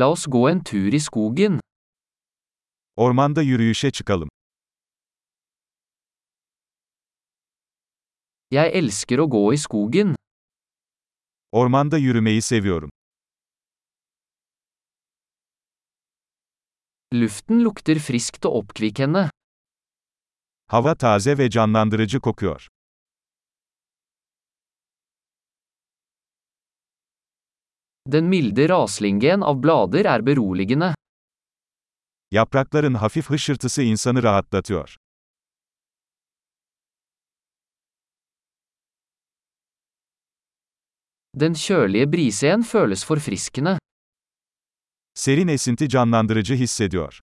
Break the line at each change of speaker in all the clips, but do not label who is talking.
La oss gå en tur i skogen.
Ormanda yürüyüşe çıkalım.
Jeg elsker å gå i skogen.
Ormanda yürümeyi seviyorum.
Luften lukter friskt og oppkvikkende.
Hava taze ve canlandırıcı kokuyor.
Den milde raslingen av blader er beroligende.
Yaprakların hafif hışırtısı insanı rahatlatıyor.
Den kjølige brisen føles forfriskende.
Serin esinti canlandırıcı hissediyor.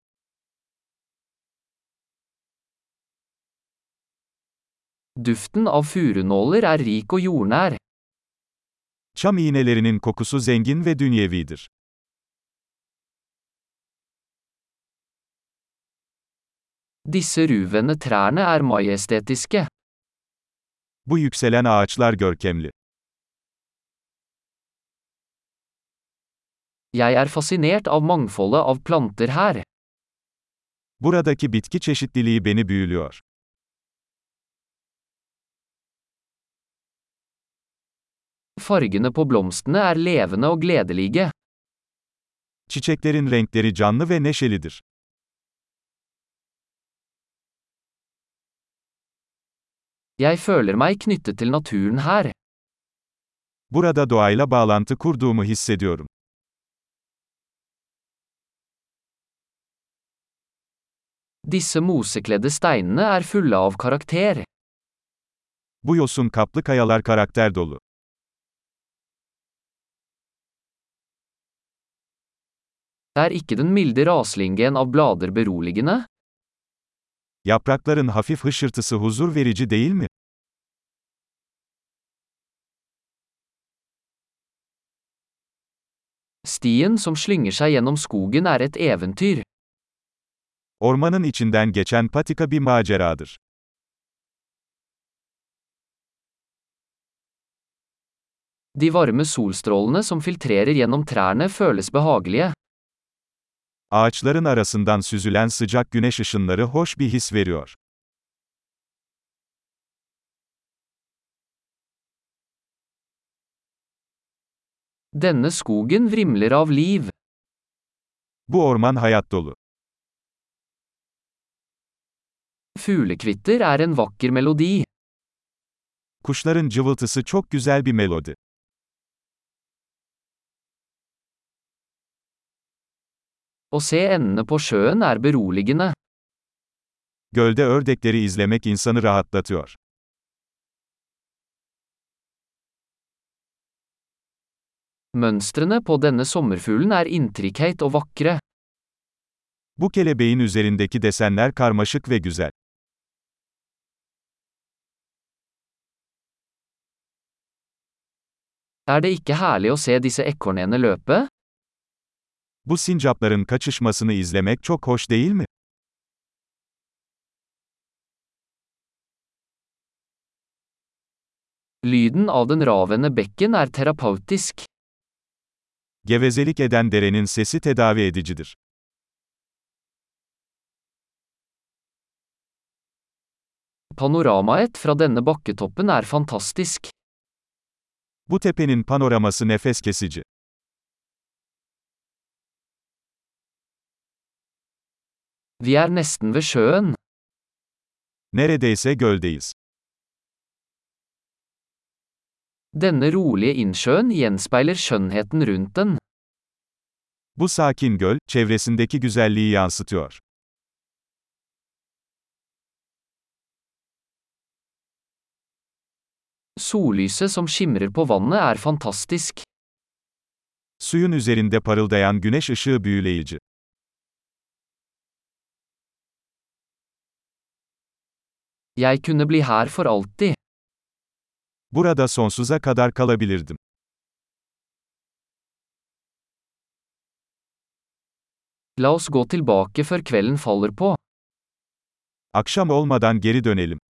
Duften av furunåler er rik og jordnær.
Çam iğnelerinin kokusu zengin ve dünyevidir.
Disse ruvende trærne er majestetiske.
Bu yükselen ağaçlar görkemli.
Jeg er fascinert av mangfoldet av planter her.
Buradaki bitki çeşitliliği beni büyülüyor.
Fargene på blomstene er levende og gledelige.
Çiçeklerin renkleri canlı ve neşelidir.
Jeg føler meg knyttet til naturen her.
Burada doğayla bağlantı kurduğumu hissediyorum.
Disse mosekledde steinene er fulle av karakter.
Bu yosun kaplı kayalar karakter dolu.
Er ikke den milde raslingen av blader beroligende?
Yaprakların hafif hışırtısı huzur verici değil mi?
Stien som slynger seg gjennom skogen er et eventyr.
Ormanın içinden geçen patika bir maceradır.
De varme solstrålene som filtrerer gjennom trærne føles behagelige.
Ağaçların arasından süzülen sıcak güneş ışınları hoş bir his veriyor.
Denne skogen vrimler av liv.
Bu orman hayat dolu.
Fuglekvitter er en vakker melodi.
Kuşların cıvıltısı çok güzel bir melodi.
Å se endene på sjøen er beroligende.
Gölde ördekleri izlemek insanı rahatlatıyor.
Mønstrene på denne sommerfuglen er intrikate og vakre.
Bu kelebeğin üzerindeki desenler karmaşık ve güzel.
Er det ikke herlig å se disse ekornene løpe?
Bu sincapların kaçışmasını izlemek çok hoş değil mi?
Lyden av den ravende bekken er terapeutisk.
Gevezelik eden derenin sesi tedavi edicidir.
Panoramaet fra denne bakketoppen er fantastisk.
Bu tepenin panoraması nefes kesici.
Vi er nesten ved sjøen.
Neredeyse göldeyiz.
Denne rolige innsjøen gjenspeiler skjønnheten rundt den.
Bu sakin göl, çevresindeki güzelliği yansıtıyor.
Sollyset som skimrer på vannet er fantastisk.
Suyun üzerinde parıldayan güneş ışığı büyüleyici.
Jeg kunne bli her for alltid.
Burada sonsuza kadar kalabilirdim.
La oss gå tilbake før kvelden faller på.
Akşam olmadan geri dönelim.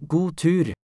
God tur!